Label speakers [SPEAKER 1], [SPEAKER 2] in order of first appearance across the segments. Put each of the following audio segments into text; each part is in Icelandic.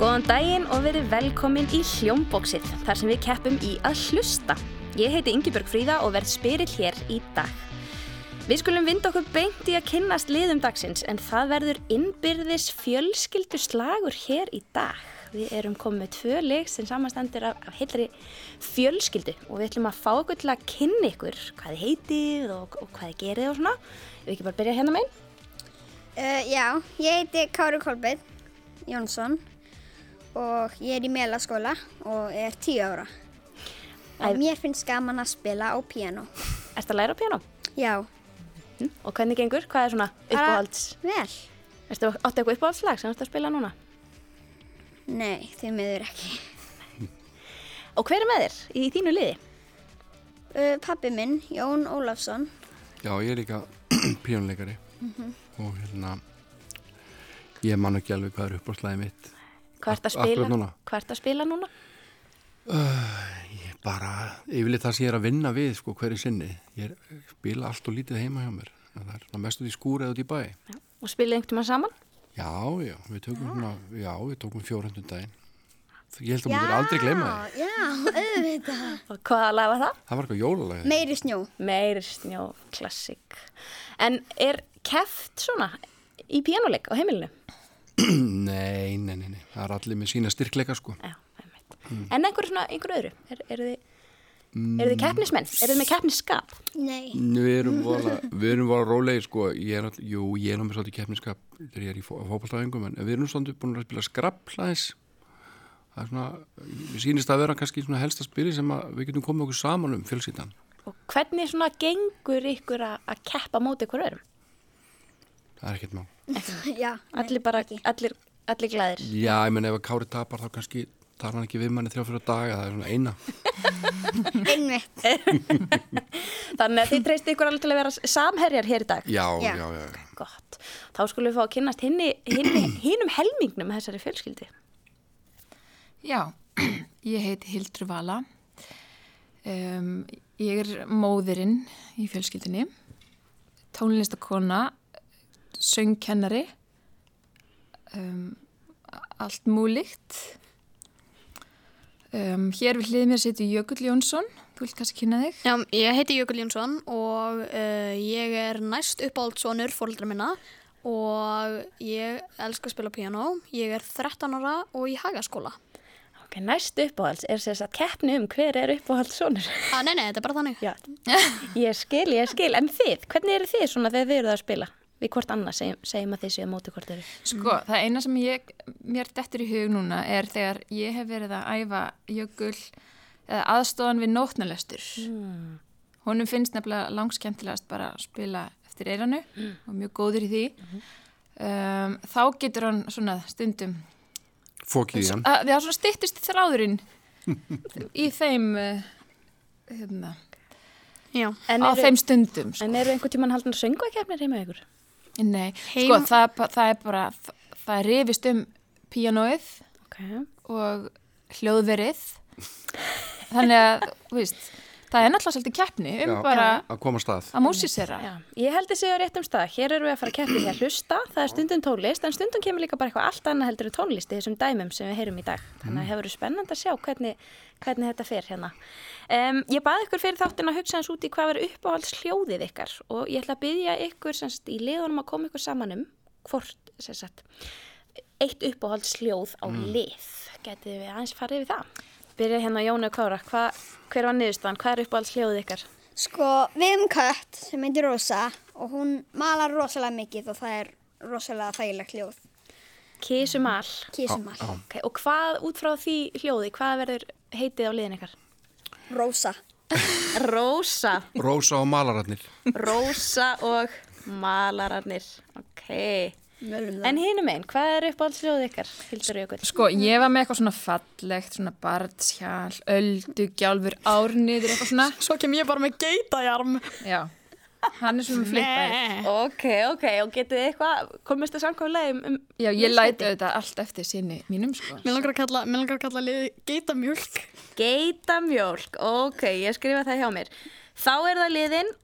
[SPEAKER 1] Góðan daginn og verið velkomin í Hljómboksið, þar sem við keppum í að hlusta. Ég heiti Ingibjörg Fríða og verð spyrill hér í dag. Við skulum vinda okkur beint í að kynnast liðum dagsins, en það verður innbyrðis fjölskyldu slagur hér í dag. Við erum komið með tvö leik sem samanstendur af, af heilri fjölskyldu og við ætlum að fá okkur til að kynna ykkur hvað þið heitið og, og hvað þið gerið og svona. Ef við ekki bara byrja hérna meginn.
[SPEAKER 2] Uh, já, ég heiti Kári Kolbeinn Jónsson og ég er í melaskóla og er tíu ára.
[SPEAKER 1] Æ-
[SPEAKER 2] Og mér finnst gaman að spila á píano.
[SPEAKER 1] Ertu að læra á piano?
[SPEAKER 2] Já,
[SPEAKER 1] Mm. Og hvernig gengur? Hvað er svona
[SPEAKER 2] Bara-
[SPEAKER 1] uppáhalds?
[SPEAKER 2] vel.
[SPEAKER 1] Erstu áttu eitthvað uppáhaldslag sem þú ert að spila núna?
[SPEAKER 2] Nei, þið meður ekki.
[SPEAKER 1] Og hver er með þér í þínu liði?
[SPEAKER 2] Uh, pappi minn, Jón Ólafsson,
[SPEAKER 3] Já, ég er líka píjónleikari og hérna ég man ekki alveg hvað er uppáðslæði mitt
[SPEAKER 1] Hvað ert að
[SPEAKER 3] Ak-
[SPEAKER 1] spila?
[SPEAKER 3] akkúrat núna?
[SPEAKER 1] Hvað ert að spila núna?
[SPEAKER 3] ég bara, yfirleitt það sem ég er að vinna við sko hverju sinni, ég er, spila allt og lítið heima hjá mér, En það er svona mest út í skúr eða út í bæ.
[SPEAKER 1] Já. Og spilið einhvern tíma saman?
[SPEAKER 3] Já, já, við tökum svona, já, við tókum fjórhundum daginn ég held að maður aldrei gleyma það
[SPEAKER 2] Já, auðvitað.
[SPEAKER 1] Og hvaða lag var það?
[SPEAKER 3] það var eitthvað jólalagið
[SPEAKER 2] Meiri snjó.
[SPEAKER 1] Meir snjó, klassik. En er keft svona í píjánuleik á heimilinu?
[SPEAKER 3] nei, nei, nei, nei, það er allir með sína styrkleika sko
[SPEAKER 1] Já, einmitt. En einhver svona, einhver öðru? Er, eru þið, eru þið keppnismenn? Eru þið með keppnisskap?
[SPEAKER 2] Nei.
[SPEAKER 3] Við erum vola, við erum vola rólegi sko, ég er, all- jú, ég er námið svolítið keppniskap þegar ég er í fó, fótballtæfingum en við erum svolítið búin að spila skrapplæðis það er svona, við sýnist að vera kannski svona helsta spili sem að við getum komið okkur saman um fjölsýtan.
[SPEAKER 1] Og hvernig svona gengur ykkur að að keppa móti ykkur öðrum?
[SPEAKER 3] Það er ekkert mál.
[SPEAKER 2] Já,
[SPEAKER 1] Allir bara, allir, allir glæðir.
[SPEAKER 3] Já, ég menn ef að Kári tapar þá kannski tar hann ekki við manni þrjá fyrir daga, það er svona eina.
[SPEAKER 2] einmitt.
[SPEAKER 1] Þannig að þið treystu ykkur alveg til að vera samherjar hér í dag.
[SPEAKER 3] Já,
[SPEAKER 2] Já.
[SPEAKER 3] já, já. já.
[SPEAKER 1] Gott. Þá skulum við fá að kynnast hinni, hinni, hinnum helmingnum þessari fjölskyldi.
[SPEAKER 4] Já, ég heiti Hildur Vala. Um, ég er móðirinn í fjölskyldinni, tónlistakona, söngkennari, um, allt múlíkt. Um, hér við hlið mér seti Jökull Jónsson, þú vilt kannski kynna þig.
[SPEAKER 5] Já, ég heiti Jökul Jónsson og uh, ég er næst uppáhaldsonur fóröldra minna og ég elska að spila piano. Ég er 13 ára og í hagaskóla.
[SPEAKER 1] Ok, næst uppáhalds er sérst að keppni um hver er uppáhalds sonur.
[SPEAKER 5] Ah, nei, nei, þetta er bara þannig.
[SPEAKER 1] Já, ég skil, ég skil. En þið, hvernig eru þið svona þegar þið eruð að spila? Við hvort annað segjum, segjum að þið séu á móti hvort eru.
[SPEAKER 4] Sko, það eina sem ég, mér dettur í hug núna er þegar ég hef verið að æfa jökul eða aðstofan við nótnalestur.
[SPEAKER 1] Mm.
[SPEAKER 4] Honum finnst nefnilega langskemmtilegast bara að spila eftir eiranu
[SPEAKER 1] Mm.
[SPEAKER 4] og mjög góður í því.
[SPEAKER 1] Mhm.
[SPEAKER 4] Um, þá getur hann svona stundum,
[SPEAKER 1] Mm.
[SPEAKER 3] Fókið í hann.
[SPEAKER 4] að, við hafa svona styttist þráðurinn í þeim, uh, hérna,
[SPEAKER 5] Já.
[SPEAKER 1] En
[SPEAKER 4] á
[SPEAKER 1] eru,
[SPEAKER 4] þeim stundum. Sko.
[SPEAKER 1] en eru einhvern tíman haldin söngvakeppnir heima hjá ykkur?
[SPEAKER 4] Nei, sko,
[SPEAKER 5] Heim-
[SPEAKER 4] það, er ba- það er bara, það, það rifist um píanóið
[SPEAKER 1] Ok,
[SPEAKER 4] og hljóðverið þannig að, þú veist það er náttúrulega svolítið keppni um
[SPEAKER 3] Já,
[SPEAKER 4] bara
[SPEAKER 3] Að koma af stað.
[SPEAKER 4] að músisera
[SPEAKER 1] já. Ég held þið séu á réttum stað. Hér eru við að fara að keppni hér hlusta. Það er stundum tónlist, en stundum kemur líka bara eitthvað allt annað heldur en tónlist í þessum dæmum sem við heyrum í dag. Þannig að hefur verið spennand að sjá hvernig, hvernig þetta fer hérna. Um, ég baði ykkur fyrir þáttin að hugsa hans út í hvað var uppáhalds hljóðið ykkar og ég ætla að byggja ykkur semst, í liðunum að koma ykkur saman um hvort, sem sagt, eitt uppáhalds hljóð á lið. Getið við aðeins farið við það? Byrja hérna á Jónu og Kára, Hva, hver var niðurstaðan? Hvað er uppáhalds hljóðið ykkar?
[SPEAKER 2] Sko, við hefum kött sem heitir Rosa og hún malar rosalega mikið og það er rosalega þægilegt hljóð.
[SPEAKER 1] Kísumal.
[SPEAKER 2] Kísumal.
[SPEAKER 1] Okay, og hvað út frá því hljóði, hvað verður heitið á liðin ykkar?
[SPEAKER 2] Rosa.
[SPEAKER 1] Rósa,
[SPEAKER 3] Rósa og malararnir.
[SPEAKER 1] Rósa og malararnir. Ok.
[SPEAKER 2] Mölum það.
[SPEAKER 1] En hinum einn, hvað er uppáhalds hljóðið ykkar? Hildur Jökull.
[SPEAKER 4] sko, ég var með eitthvað svona fallegt svona barnshjál, öldu gjálfur árniður, eitthvað svona
[SPEAKER 5] Svo kem ég bara með geitajarm.
[SPEAKER 4] já, hann er svona
[SPEAKER 5] Eh.
[SPEAKER 4] flippaður
[SPEAKER 1] Ok, ok, og getið þið eitthvað, komist þið samkvæmlega um, um
[SPEAKER 4] já, ég læti auðvitað allt eftir sinni mínum, sko
[SPEAKER 5] Mér langar að kalla, mér langar að kalla liði geitamjölk.
[SPEAKER 1] geitamjólk? Ok, ég skrifa það hjá mér. Þá er það liðin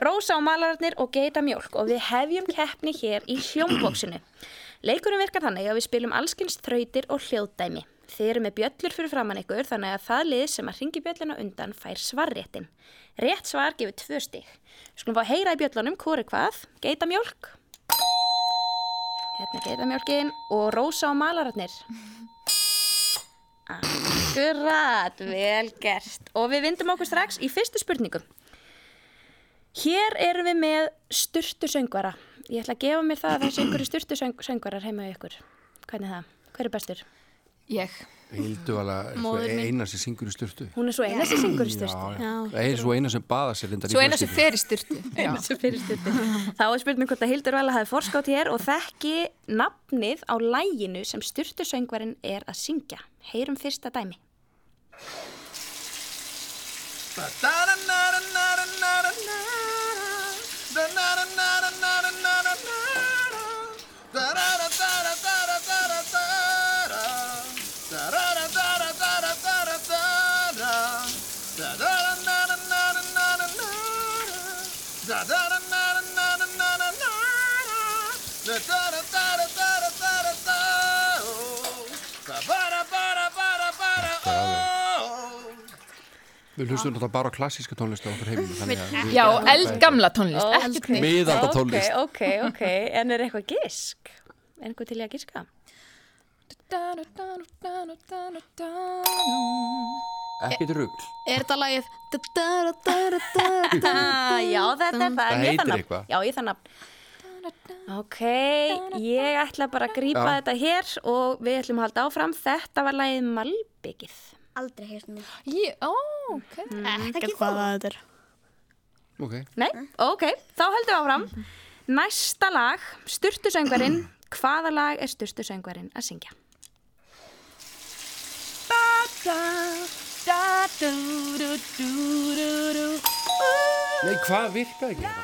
[SPEAKER 1] Rósa og malararnir og geitamjólk og við hefjum keppni hér í hljómbóksinu. Leikurinn virkar þannig að við spilum allskins þrautir og hljóðdæmi. Þið eru með bjöllur fyrir framann ykkur þannig að það lið sem að ringi bjölluna undan fær svarréttin. Rétt svar gefur tvö stig. Við skulum fá að heyra í bjöllunum hvori hvað, geitamjólk. Hérna er geitamjólkin og rósa og malararnir. Akkurat, vel gert. Og við vindum okkur strax í fyrstu spurningu. Hér erum við með styrtusöngvara. Ég ætla að gefa mér það að þessu ykkur styrtusöngvarar heima hjá ykkur. Hvernig er það? Hver er bestur?
[SPEAKER 4] Ég.
[SPEAKER 3] Hilduvala er svo
[SPEAKER 5] Móðir mín.
[SPEAKER 3] sko, eina sem syngur í styrtu.
[SPEAKER 1] Hún er svo eina sem syngur í styrtu.
[SPEAKER 3] Já, það er svo eina sem baða sér lindar
[SPEAKER 4] Svo eina sem fer í styrtu. Já.
[SPEAKER 1] Eina sem fyrir styrtu. Þá er spurning hvort að Hildur Vala hafi forskátt hér og þekki nafnið á læginu sem styrtusöngvarin er að syngja. Heyrum fyrsta dæmi.
[SPEAKER 3] Við hlustum náttúrulega bara á klassíska tónlist á okkur heiminu. þannig að við-
[SPEAKER 4] Já, eldgamla tónlist,
[SPEAKER 1] Ó,
[SPEAKER 4] ekkert nýtt.
[SPEAKER 3] Miðalda tónlist.
[SPEAKER 1] Ok, ok, ok. En er eitthvað gisk? Er eitthvað til ég að giska?
[SPEAKER 3] Ekki rugl.
[SPEAKER 5] Er þetta lagið Da-da-da-da-da-da-da.
[SPEAKER 1] Ah, já, þetta er það.
[SPEAKER 3] Það
[SPEAKER 1] en ég
[SPEAKER 3] heitir
[SPEAKER 1] nafn.
[SPEAKER 3] eitthvað.
[SPEAKER 1] Já, ég það nafn. Ok, ég ætla bara að grípa
[SPEAKER 3] Já.
[SPEAKER 1] þetta hér og við ætlum að halda áfram. Þetta var lagið Malbyggið.
[SPEAKER 2] Aldrei heyrt um mig.
[SPEAKER 4] Ég, ó, ok.
[SPEAKER 5] Ekkert hvað það þetta er
[SPEAKER 3] Ok,
[SPEAKER 1] Nei, ok, þá heldum við áfram. Næsta lag, Sturtusöngvarinn. Hvaða lag er Sturtusöngvarinn að syngja?
[SPEAKER 3] nei hvað virkaði ekki þetta?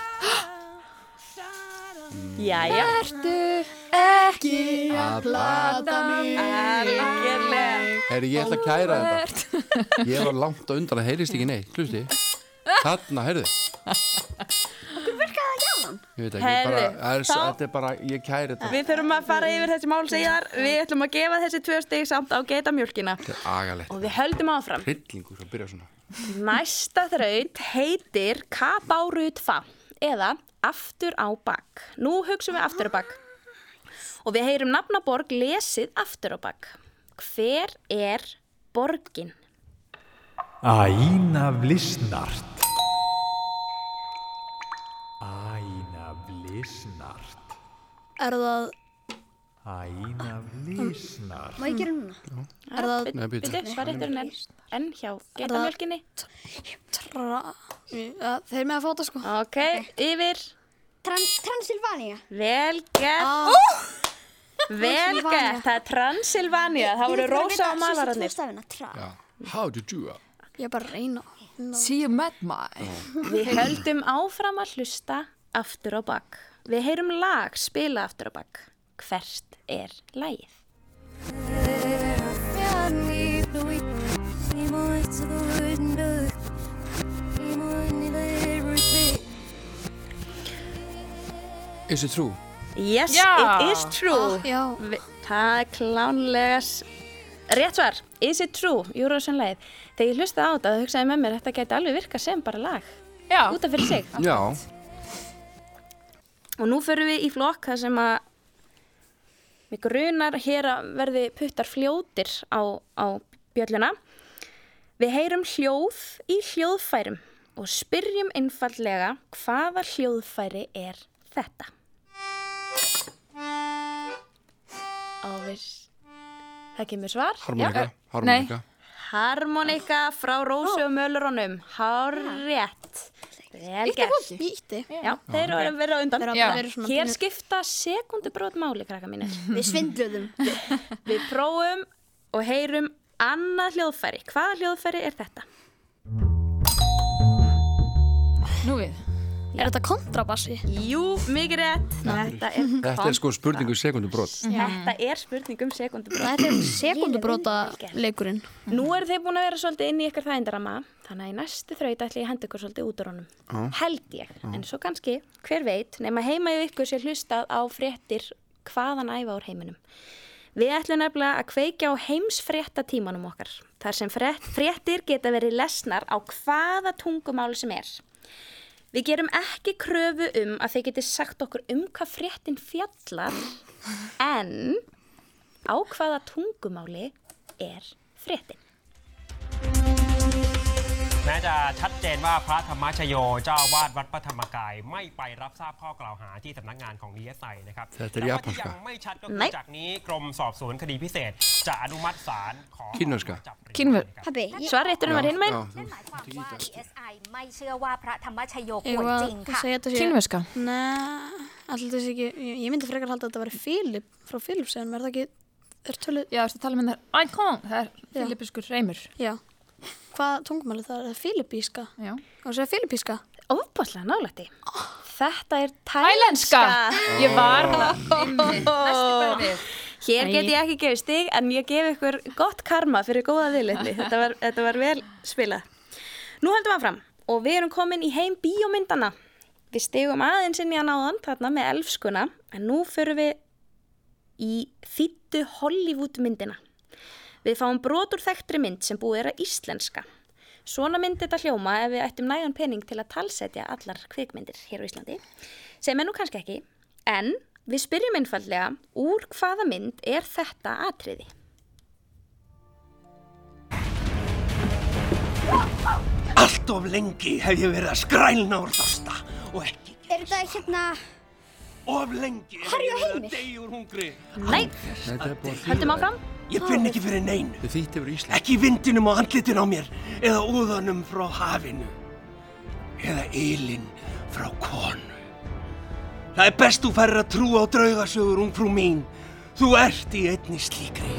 [SPEAKER 1] Jæja. Algjörlega.
[SPEAKER 3] Herri, ég ætla að kæra þetta. Ég var langt á undan að heyrist ekki neitt, hlusti. Þarna, herðu. Okkur virkaði það
[SPEAKER 1] Heyrðu,
[SPEAKER 3] hjáðan. Ég veit ekki, bara, er,
[SPEAKER 1] þá-
[SPEAKER 3] þetta er bara, ég kæri þetta.
[SPEAKER 1] Við þurfum að fara yfir þessi mál síðar. Við ætlum að gefa þessi tvö steg samt á geta mjölkina.
[SPEAKER 3] Þetta er agalegt.
[SPEAKER 1] Og við höldum áfram.
[SPEAKER 3] Hryllingur að byrja svona.
[SPEAKER 1] Næsta þraut heitir Kabárutfa eða Aftur á bakk. Nú hugsum við aftur á bakk og við heyrum nafnaborg lesið aftur á bakk. Hver er borgin?
[SPEAKER 6] Aina Vlisnart Aina Vlisnart
[SPEAKER 5] Er það,
[SPEAKER 6] Aina Vlisnart
[SPEAKER 2] Má ég gera núna?
[SPEAKER 5] er það
[SPEAKER 3] Nei, býtu.
[SPEAKER 1] Býtu, svar réttur en enn hjá getamjölkinni.
[SPEAKER 5] tra... Ja, Þeir eru með að fá þetta sko
[SPEAKER 1] Ok, yfir.
[SPEAKER 2] Tran Transilvania.
[SPEAKER 1] Vel gert,
[SPEAKER 5] ah,
[SPEAKER 1] vel gert. Það er Transilvania. Það voru rosa og malararnir.
[SPEAKER 2] Stafina, tra.
[SPEAKER 3] Já. How do you do that?
[SPEAKER 5] Ég er bara að reyna no.
[SPEAKER 4] See you met my.
[SPEAKER 1] Við höldum áfram að hlusta aftur á bakk. Við heyrum lag spila aftur á bakk. Hvert er lagið?
[SPEAKER 3] Is it true?
[SPEAKER 1] Yes,
[SPEAKER 4] Já.
[SPEAKER 1] it is true.
[SPEAKER 5] Já,
[SPEAKER 1] Vi- Það er klánlega s- rétt svar. Is it true? Júrósson lagið. Þegar ég hlustaði á þetta, það hugsaði ég með mér þetta geti alveg virkað sem bara lag.
[SPEAKER 4] Já,
[SPEAKER 1] Út af fyrir sig.
[SPEAKER 3] Já.
[SPEAKER 1] Og nú förum við í flokk þar sem að mig grunar hér að verði puttar fljótir á, á bjölluna. Við heyrum hljóð í hljóðfærum og spyrjum einfallega hvaða hljóðfæri er þetta. Ávis. Það kemur svar.
[SPEAKER 3] Harmonika,
[SPEAKER 1] Já.
[SPEAKER 3] harmonika.
[SPEAKER 1] Harmonika frá Rósu og Mölurunum. Hárrétt. Vel gert.
[SPEAKER 5] ég ítti
[SPEAKER 1] Já, þeir eru að vera á undan.
[SPEAKER 5] Þeir eru
[SPEAKER 4] Já.
[SPEAKER 5] að vera svona
[SPEAKER 1] Hér skipta sekundubrót máli, krakka mínir.
[SPEAKER 2] Við svindluðum.
[SPEAKER 1] Við prófum og heyrum annað hljóðfæri. Hvaða hljóðfæri er þetta?
[SPEAKER 4] nú við.
[SPEAKER 5] Er þetta kontrabassi?
[SPEAKER 1] Jú, mikið rétt. Þetta er,
[SPEAKER 3] Þetta er sko spurningu sekundum brot.
[SPEAKER 1] Þetta er spurning um sekundubrót.
[SPEAKER 5] Þetta er sekundubróta leikurinn
[SPEAKER 1] Nú eru þið búin að vera svolítið inn í ykkar þægindarama, þannig að í næstu þraut ætla ég að henda ykkur svolítið út úr honum. Held ég. En svo kannski, hver veit, nema heima í ykkur sér hlustað á fréttir hvaðan æfa úr heiminum. Við ætlum nefnilega að kveikja á heimsfrétta tímanum okkar, þar sem frétt, fréttir geta verið lesnar á hvaða tungumáli sem er. Við gerum ekki kröfu um að þið geti sagt okkur um hvað fréttin fjallar, en á hvaða tungumáli er fréttin.
[SPEAKER 7] แม้จะชัดเจนว่าพระธรรมชโยเจ้าวาดวัดพระธรรมกาย ไม่ไปรับทราบข้อกล่าวหาที่สำนักงานของดีเอสไอนะครับ
[SPEAKER 3] แต่จะ
[SPEAKER 7] แต่
[SPEAKER 3] เรียก
[SPEAKER 7] ว่าที่
[SPEAKER 3] ภาษายั
[SPEAKER 7] ยังไม่ชัดก็คื
[SPEAKER 1] ไม่
[SPEAKER 7] อจากนี้กรมสอบสวนคดีพิเศษ จะอนุมัติศาลขอ
[SPEAKER 3] Kínverska.
[SPEAKER 4] คินเว
[SPEAKER 2] Pabbi, ég,
[SPEAKER 1] Svarrétturinn var hinn meginn.
[SPEAKER 3] Já, þú-
[SPEAKER 8] นั่นหมายความว่า DSI ไม่เชื่อว่าพระธรรมชโยป่
[SPEAKER 5] Ég
[SPEAKER 8] วย
[SPEAKER 5] var
[SPEAKER 8] จริง
[SPEAKER 5] að
[SPEAKER 8] ค่ะ
[SPEAKER 5] segja þetta sé...
[SPEAKER 4] kynverska
[SPEAKER 5] Nei, alltaf þessi ekki... Ég, ég myndi frekar halda að þetta væri Filip, frá Filipsen, er það ekki... Er tölur...
[SPEAKER 4] Já, ertu að tala með það Icon, það er filipiskur reymur
[SPEAKER 5] Já. Hvað tungumáli það er? Það er filipíska.
[SPEAKER 4] Já.
[SPEAKER 5] Og það er filipíska.
[SPEAKER 1] Óbáslega nálætti. Þetta er tælenska.
[SPEAKER 4] Tælenska Ég var það
[SPEAKER 1] Ó, Hér
[SPEAKER 4] Æi.
[SPEAKER 1] get ég ekki gefið stig en ég gef ykkur gott karma fyrir góða viðlitni. Þetta var, þetta var vel spilað. Nú höldum við áfram og við erum komin í heim bíómyndana. Við stigum aðeins inn í hann áðan þarna með elfskuna en nú förum við í þýttu Hollywood myndina. Við fáum brotur þekktri mynd sem búið er að íslenska. Svona myndi þetta hljóma ef við ættum nægan pening til að talsetja allar kvikmyndir hér á Íslandi, sem er nú kannski ekki, en við spyrjum einfallega úr hvaða mynd er þetta atriði?
[SPEAKER 9] Allt of lengi hef ég verið að skrælna úr þorsta og ekki
[SPEAKER 2] er þetta hérna,
[SPEAKER 9] of lengi hef
[SPEAKER 2] Harry
[SPEAKER 9] ég
[SPEAKER 2] og
[SPEAKER 9] verið
[SPEAKER 2] Heimir?
[SPEAKER 9] að deyja úr hungri.
[SPEAKER 1] Nei,
[SPEAKER 3] Þetta er bara
[SPEAKER 1] höldum áfram.
[SPEAKER 9] Ég finn ekki fyrir neinu,
[SPEAKER 3] Þið þýtti yfir Ísland.
[SPEAKER 9] ekki vindinum á andlitin á mér eða úðanum frá hafinu eða ylinn frá konu. Það er best þú færð að trúa á draugasögur, ungfrú mín. Þú ert í einni slíkri.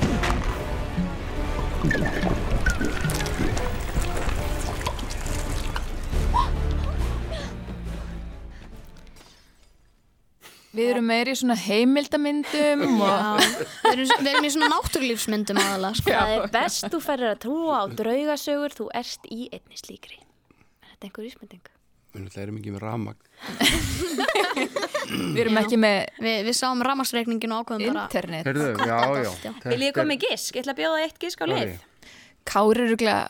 [SPEAKER 4] Við erum meiri í svona heimildamyndum og
[SPEAKER 5] Við erum, við erum í svona náttúrlífsmyndum aðalega, sko.
[SPEAKER 1] Það er best þú færir að trúa á draugasögur, þú erst í einni slíkri. Er þetta einhver ísmynding?
[SPEAKER 3] Við náttúrulega erum ekki með ramagn.
[SPEAKER 4] við erum ekki með
[SPEAKER 5] Við, við sáum ramarsreikningin og ákveðum bara...
[SPEAKER 4] internet
[SPEAKER 3] Herðu, já, já. þetta
[SPEAKER 1] Vil ég koma með gisk? Ég ætla að bjóða eitt gisk á
[SPEAKER 3] er-
[SPEAKER 1] lið.
[SPEAKER 4] Kári eru glæð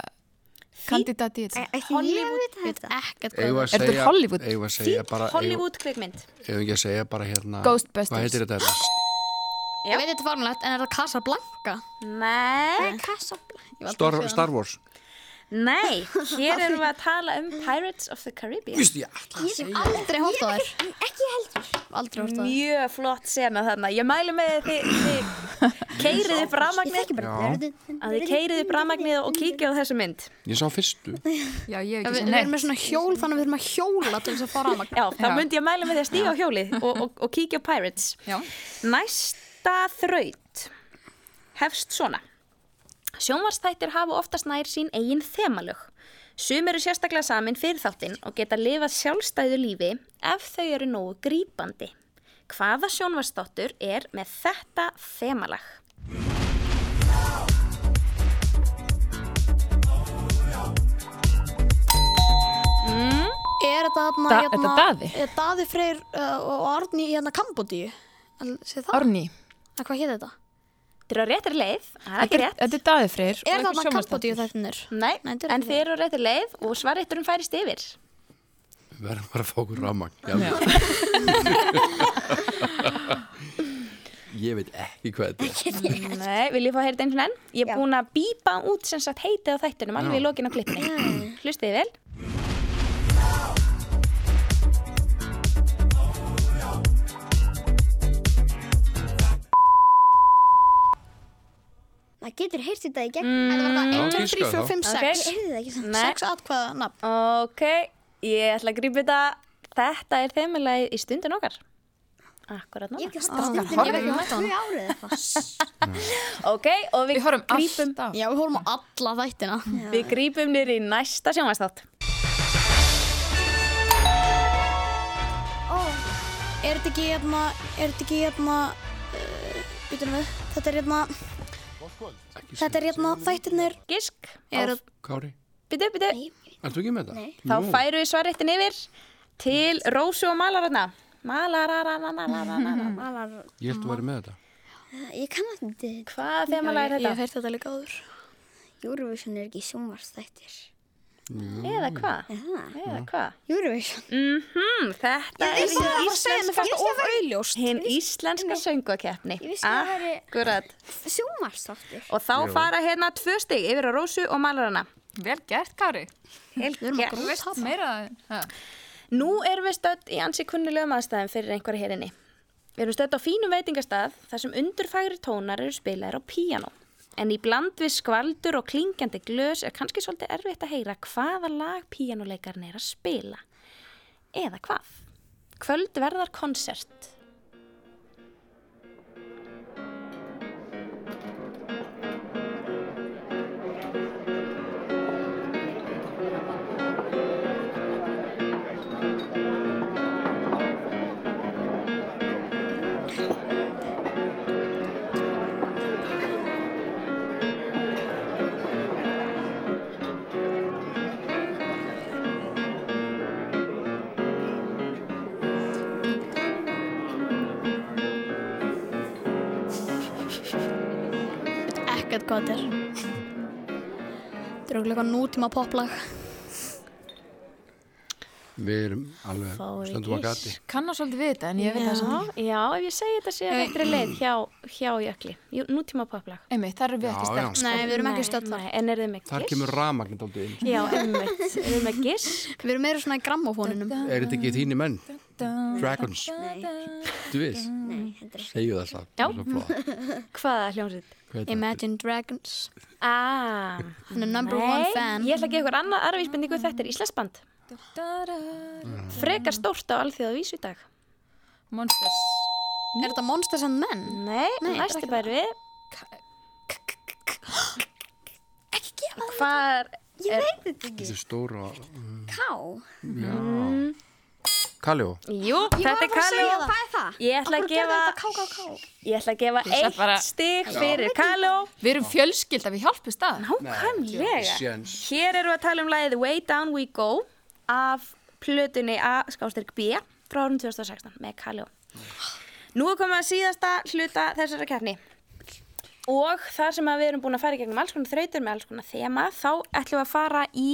[SPEAKER 4] kandidat í þetta
[SPEAKER 2] ekki ég veit
[SPEAKER 5] Við veit
[SPEAKER 2] þetta.
[SPEAKER 5] ekkert
[SPEAKER 3] Eigum við
[SPEAKER 5] hvað
[SPEAKER 3] að
[SPEAKER 4] Er þetta
[SPEAKER 3] segja-
[SPEAKER 4] Hollywood?
[SPEAKER 3] eigum við að segja
[SPEAKER 1] Þýtt
[SPEAKER 3] bara, eigum
[SPEAKER 1] Hollywood kvikmynd.
[SPEAKER 3] eigum við ekki að segja bara hérna,
[SPEAKER 4] Ghostbusters.
[SPEAKER 3] hvað heitir þetta?
[SPEAKER 5] það Ég veit þetta formulegt, en er það Casablanca?
[SPEAKER 1] Nei,
[SPEAKER 5] Ég var aldrei
[SPEAKER 3] Star,
[SPEAKER 5] að sjá
[SPEAKER 3] Star Wars.
[SPEAKER 1] nei, hér erum við að tala um Pirates of the Caribbean.
[SPEAKER 3] Vistu, ég ætla að segja.
[SPEAKER 5] hana. Aldrei hórt á þær. Ekki heldur. Aldrei hórt á þær.
[SPEAKER 1] Mjög flott sena þarna. Ég mælu með þið, þið keiriði bramagnið,
[SPEAKER 3] Já,
[SPEAKER 1] að þið keiriði bramagnið og kíkja á þessu mynd.
[SPEAKER 3] ég sá fyrstu.
[SPEAKER 4] Já, ég hef
[SPEAKER 5] Við,
[SPEAKER 4] ekki
[SPEAKER 5] við erum
[SPEAKER 4] neitt
[SPEAKER 5] með svona hjól, þannig að við erum að hjóla til þess að fá ramagn.
[SPEAKER 1] Já, þá
[SPEAKER 4] Já.
[SPEAKER 1] myndi ég mælu með því að stíga á hjólið og, og, og kíkja á Pirates.
[SPEAKER 4] Já.
[SPEAKER 1] Næsta þraut hefst svona. Sjónvarstættir hafa oftast nær sín eigin þemalög. Sum eru sérstaklega samin fyrir þáttinn og geta lifað sjálfstæðu lífi ef þau eru nógu grípandi. Hvaða sjónvarstáttur er með þetta þemalag?
[SPEAKER 5] Er þetta hérna...
[SPEAKER 4] Da-
[SPEAKER 5] hérna,
[SPEAKER 4] þetta Daði?
[SPEAKER 5] Er Daði Freyr uh, og Arni í hérna Kambodíu? Sér það?
[SPEAKER 4] Árný,
[SPEAKER 5] Að Hvað hétt þetta?
[SPEAKER 1] Þetta er á réttri leið. Það er ekki
[SPEAKER 4] þetta er-
[SPEAKER 1] rétt.
[SPEAKER 4] þetta er daði freyr og einhver
[SPEAKER 5] Er það hérna
[SPEAKER 4] sjónvarpsþáttur.
[SPEAKER 5] Kambodíu þættinir?
[SPEAKER 1] Nei,
[SPEAKER 5] Nei, þetta er
[SPEAKER 1] en
[SPEAKER 5] ekki
[SPEAKER 1] þið eru á réttri leið og svarrétturum færist yfir.
[SPEAKER 3] Við verðum bara að fá okkur ramagn. Já. Ég veit ekki hvað þetta er.
[SPEAKER 1] Nei, vil ég fá að heyra þetta einu sinni enn? Ég er búin að býpa út sem sagt heitið á þættunum alveg í lokin á klippinni. Hlustið þið vel?
[SPEAKER 2] Það getur heyrt þetta í gegn. Mm.
[SPEAKER 5] En það var það 1, 2, 3,
[SPEAKER 3] giskaðu
[SPEAKER 5] 4, 5,
[SPEAKER 1] þá.
[SPEAKER 5] 6.
[SPEAKER 1] Ok.
[SPEAKER 2] Heyrðu það ekki svona?
[SPEAKER 1] Nei.
[SPEAKER 5] 6 atkvæða nafn.
[SPEAKER 1] Ok, ég ætla að grípa þetta. Þetta er þeimulegið í stundin okkar. Akkurat
[SPEAKER 2] Ég
[SPEAKER 1] núna.
[SPEAKER 2] hef ekki stundin
[SPEAKER 4] horfði
[SPEAKER 2] í
[SPEAKER 4] ekki á
[SPEAKER 2] tvö árið eða eitthvað.
[SPEAKER 1] Ok, og við,
[SPEAKER 4] Við horfum
[SPEAKER 1] grípum,
[SPEAKER 4] alltaf
[SPEAKER 5] Já, við horfum á alla þættina.
[SPEAKER 1] við grípum nýr í næsta sjónvænstátt.
[SPEAKER 5] Er þetta ekki hérna, er þetta ekki hérna, býtum við, þetta er hérna, þetta er hérna þættirnir.
[SPEAKER 1] Gisk,
[SPEAKER 5] Er,
[SPEAKER 3] Kári,
[SPEAKER 1] byttu, byttu.
[SPEAKER 3] ertu ekki með þetta? Nei.
[SPEAKER 1] Þá færu við svarréttin yfir til Rósu og Malararna. Malarararararararara.
[SPEAKER 2] Malar...
[SPEAKER 3] Ég held að þú væri með þetta.
[SPEAKER 2] Ég kann að þetta.
[SPEAKER 1] Hvað þegar maður
[SPEAKER 5] ég,
[SPEAKER 1] læri
[SPEAKER 5] ég hef
[SPEAKER 1] þetta?
[SPEAKER 5] heyrt þetta líka áður.
[SPEAKER 2] Eurovision er ekki sjónvarsþættir.
[SPEAKER 1] Eða hvað? Eða hvað?
[SPEAKER 2] Eurovision.
[SPEAKER 1] Mhm, þetta er
[SPEAKER 2] vissi
[SPEAKER 1] hinn
[SPEAKER 2] það var að segja, mér
[SPEAKER 1] íslenska,
[SPEAKER 2] fannst það of auðljóst.
[SPEAKER 1] hin íslenska söngukeppni.
[SPEAKER 2] Ég vissi það væri-
[SPEAKER 1] Akkurat.
[SPEAKER 2] Sjónvarsþáttur.
[SPEAKER 1] Og þá fara hérna tvö stig yfir á Rósu og malarana.
[SPEAKER 4] Vel gert, Kári.
[SPEAKER 1] Helt gert.
[SPEAKER 4] Þú veist meira það.
[SPEAKER 1] Nú erum við stödd í ansi kunnulegum aðstæðum fyrir einhverja herinni. Við erum stödd á fínum veitingastað þar sem undurfægri tónar eru spilaðir á píanó. En í bland við skvaldur og klingjandi glös er kannski svolítið erfitt að heyra hvaða lag píanóleikarinn er að spila. Eða hvað? Kvöldverðar konsert.
[SPEAKER 5] Ekkert hvað þetta er. Þetta er okkur eitthvað nútíma poplag.
[SPEAKER 3] Við erum alveg,
[SPEAKER 1] Fáið
[SPEAKER 3] stöndum að
[SPEAKER 1] giss.
[SPEAKER 3] gati.
[SPEAKER 4] Kanna svolítið við þetta en ég veit það sem
[SPEAKER 1] Já, já, ef ég segi þetta sé að þetta er leið hjá, hjá Jökli. Jú, Nútíma poplag.
[SPEAKER 4] Einmitt, þar eru við
[SPEAKER 3] Já,
[SPEAKER 4] ekki sterk.
[SPEAKER 3] já.
[SPEAKER 4] sko.
[SPEAKER 5] Nei, við erum ekki
[SPEAKER 1] Nei,
[SPEAKER 5] stödd þar.
[SPEAKER 1] nei, En er þið með giss?
[SPEAKER 3] Þar kemur rafmagnit aldrei inn.
[SPEAKER 1] Já, einmitt. Erum við með giss?
[SPEAKER 5] Við erum meira svona í grammofóninum.
[SPEAKER 3] Er þetta ekki þínir menn? Dragons,
[SPEAKER 2] Nei,
[SPEAKER 3] þú við?
[SPEAKER 2] nei, þetta er...
[SPEAKER 3] Segju það samt.
[SPEAKER 1] Já.
[SPEAKER 3] það er svo flott.
[SPEAKER 1] Hvaða hljómsveit?
[SPEAKER 3] Hvað heitir það?
[SPEAKER 5] Imagine Dragons.
[SPEAKER 1] Ah,
[SPEAKER 5] Hann er number one fan.
[SPEAKER 1] ég ætla að gefa ykkur annað aðravísbendingu þetta er Íslands band. Frekar stórt á alþjóða vísu í dag.
[SPEAKER 4] Monsters.
[SPEAKER 5] Er þetta Monsters and Men?
[SPEAKER 1] Nei,
[SPEAKER 5] Nei, þetta er
[SPEAKER 1] næstu
[SPEAKER 5] ekki
[SPEAKER 1] bæri við.
[SPEAKER 2] Ekki gefa það.
[SPEAKER 1] Hvar
[SPEAKER 2] Ég veit þetta ekki.
[SPEAKER 3] Þetta er stóra... mm.
[SPEAKER 2] Ká.
[SPEAKER 4] Mm.
[SPEAKER 3] Já. Kaljó.
[SPEAKER 1] Jú, þetta er
[SPEAKER 2] Já,
[SPEAKER 1] Kalló.
[SPEAKER 2] hvað er það?
[SPEAKER 1] Ég ætla að gefa,
[SPEAKER 2] Ká, ká, ká.
[SPEAKER 1] ég ætla að gefa
[SPEAKER 4] sagði
[SPEAKER 1] eitt
[SPEAKER 4] bara-
[SPEAKER 1] stig fyrir Kalló.
[SPEAKER 4] Við erum fjölskylda, við hjálpumst að.
[SPEAKER 1] Nákvæmlega.
[SPEAKER 3] Sjens.
[SPEAKER 1] Hér eru við að tala um lagið Way Down We Go af plötunni A skástrík B frá árum 2016 með Kaljó. Nú er komið að síðasta hluta þessara kjarni og þar sem að við erum búin að fara í gegnum alls konar þrautur með alls konar þema þá ætlum við að fara í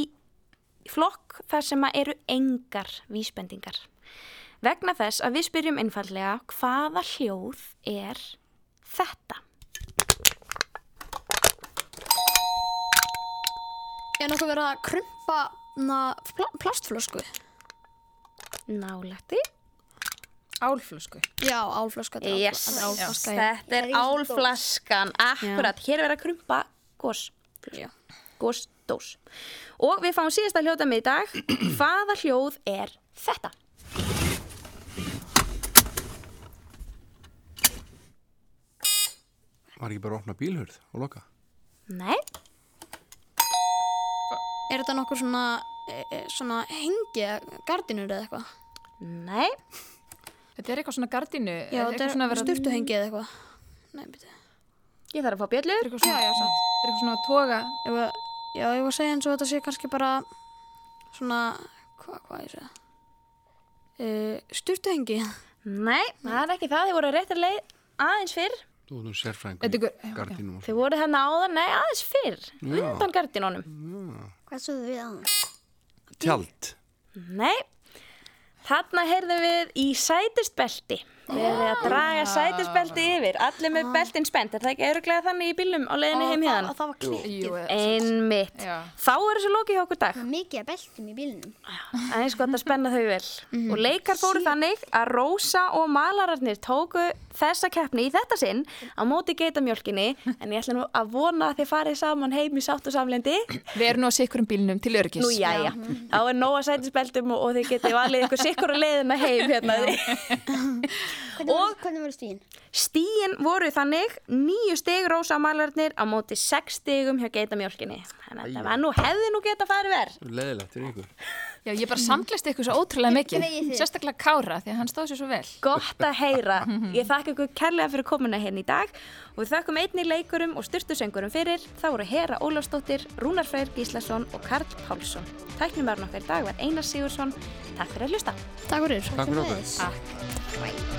[SPEAKER 1] flokk þar sem að eru engar vísbendingar. Vegna þess að við spyrjum einfallega hvaða hljóð er þetta?
[SPEAKER 5] Er nokkuð verið að krumpa na, pl plastflösku?
[SPEAKER 1] Nálætti.
[SPEAKER 4] Álflösku.
[SPEAKER 5] Já, álflösku. þetta er álfl-
[SPEAKER 1] Yes,
[SPEAKER 5] þetta er álflaska, já.
[SPEAKER 1] þetta er álflaskan, akkurat, hér er verið að krumpa gos,
[SPEAKER 5] Já.
[SPEAKER 1] gosdós. Og við fáum síðasta hljóta með í dag, hvaða hljóð er þetta?
[SPEAKER 3] Var ekki bara að opna bílhörð og loka?
[SPEAKER 1] Nei,
[SPEAKER 5] Er þetta nokkuð svona, e, e, svona hengi, gardinur eða eitthvað?
[SPEAKER 1] nei,
[SPEAKER 4] Þetta er eitthvað svona gardínu.
[SPEAKER 5] Já, þetta er
[SPEAKER 4] svona
[SPEAKER 5] vera...
[SPEAKER 4] Þetta
[SPEAKER 5] sturtu hengi eða eitthvað. Nei, byrju.
[SPEAKER 1] ég þarf að fá bjöllu,
[SPEAKER 4] er eitthvað svona, já, já, satt. Þetta er eitthvað svona að toga.
[SPEAKER 5] Ég var, já, ég var að segja eins og þetta sé kannski bara svona, hvað, hvað ég segja? E, sturtu hengi.
[SPEAKER 1] nei, það er ekki það, þið voru á réttir leið aðeins fyrr,
[SPEAKER 3] Þú erum
[SPEAKER 4] Þetta
[SPEAKER 3] sérfræðingur
[SPEAKER 4] er
[SPEAKER 3] í
[SPEAKER 4] eitthvað,
[SPEAKER 3] gardínum og
[SPEAKER 1] þið voru hérna áðan, nei, aðeins fyrr, undan gardinónum.
[SPEAKER 2] Hvað svo við að það?
[SPEAKER 3] svona. Tjald.
[SPEAKER 1] Nei, þarna heyrðum við í sætistbelti. Við erum við að
[SPEAKER 5] Ah.
[SPEAKER 1] draga sætisbelti yfir, allir með beltin spennt, er það ekki öruglega þannig í bílum á leiðinni heim hérna?
[SPEAKER 5] Og Ah. það var klík.
[SPEAKER 4] Jú, eða-
[SPEAKER 1] Einmitt.
[SPEAKER 4] Já.
[SPEAKER 1] Þá er þessu lokið hjá okkur í dag.
[SPEAKER 2] Mikið að beltum í bílinum.
[SPEAKER 1] Það er sko að spenna þau vel.
[SPEAKER 5] Mhm.
[SPEAKER 1] Og leikar fóru þannig að Rósa og malararnir tóku þessa keppni í þetta sinn á móti geitamjólkinni. En ég ætla nú að vona að þið farið saman heim í sátt og samlendi.
[SPEAKER 4] Við erum nú að sikkurum bílnum til örgis.
[SPEAKER 1] Nú jæja, þá er nóg að sætisbeltum og, og þið getið valið ykkur sikkur að leiðina heim hérna.
[SPEAKER 2] Hvernig var- hvernig voru stíðin?
[SPEAKER 1] Stíin voru þannig nýju stig Rósa og malararnir á móti sex stigum hjá geitamjólkinni. Þannig að þetta var nú hefði nú geta farið verð.
[SPEAKER 3] Leðilegt fyrir ykkur.
[SPEAKER 4] Já, ég bara samklaðist ykkur svo ótrúlega mikið.
[SPEAKER 2] Greyið þið.
[SPEAKER 4] Sérstaklega Kára, því að hann stóð sér svo vel.
[SPEAKER 1] Gott að heyra. Ég þakka ykkur kærlega fyrir komuna hérna í dag og við þakkum einnig leikurum og styrtusöngurum fyrir. Það voru Hera Ólafsdóttir, Rúnar Freyr Gíslason og Karl Pálsson. Tæknumærun okkar í dag var Einar Sigursson. Takk fyrir að hlusta.
[SPEAKER 5] Takk fyrir.
[SPEAKER 3] Takk fyrir okkur.
[SPEAKER 2] Svoleiðis. hvæ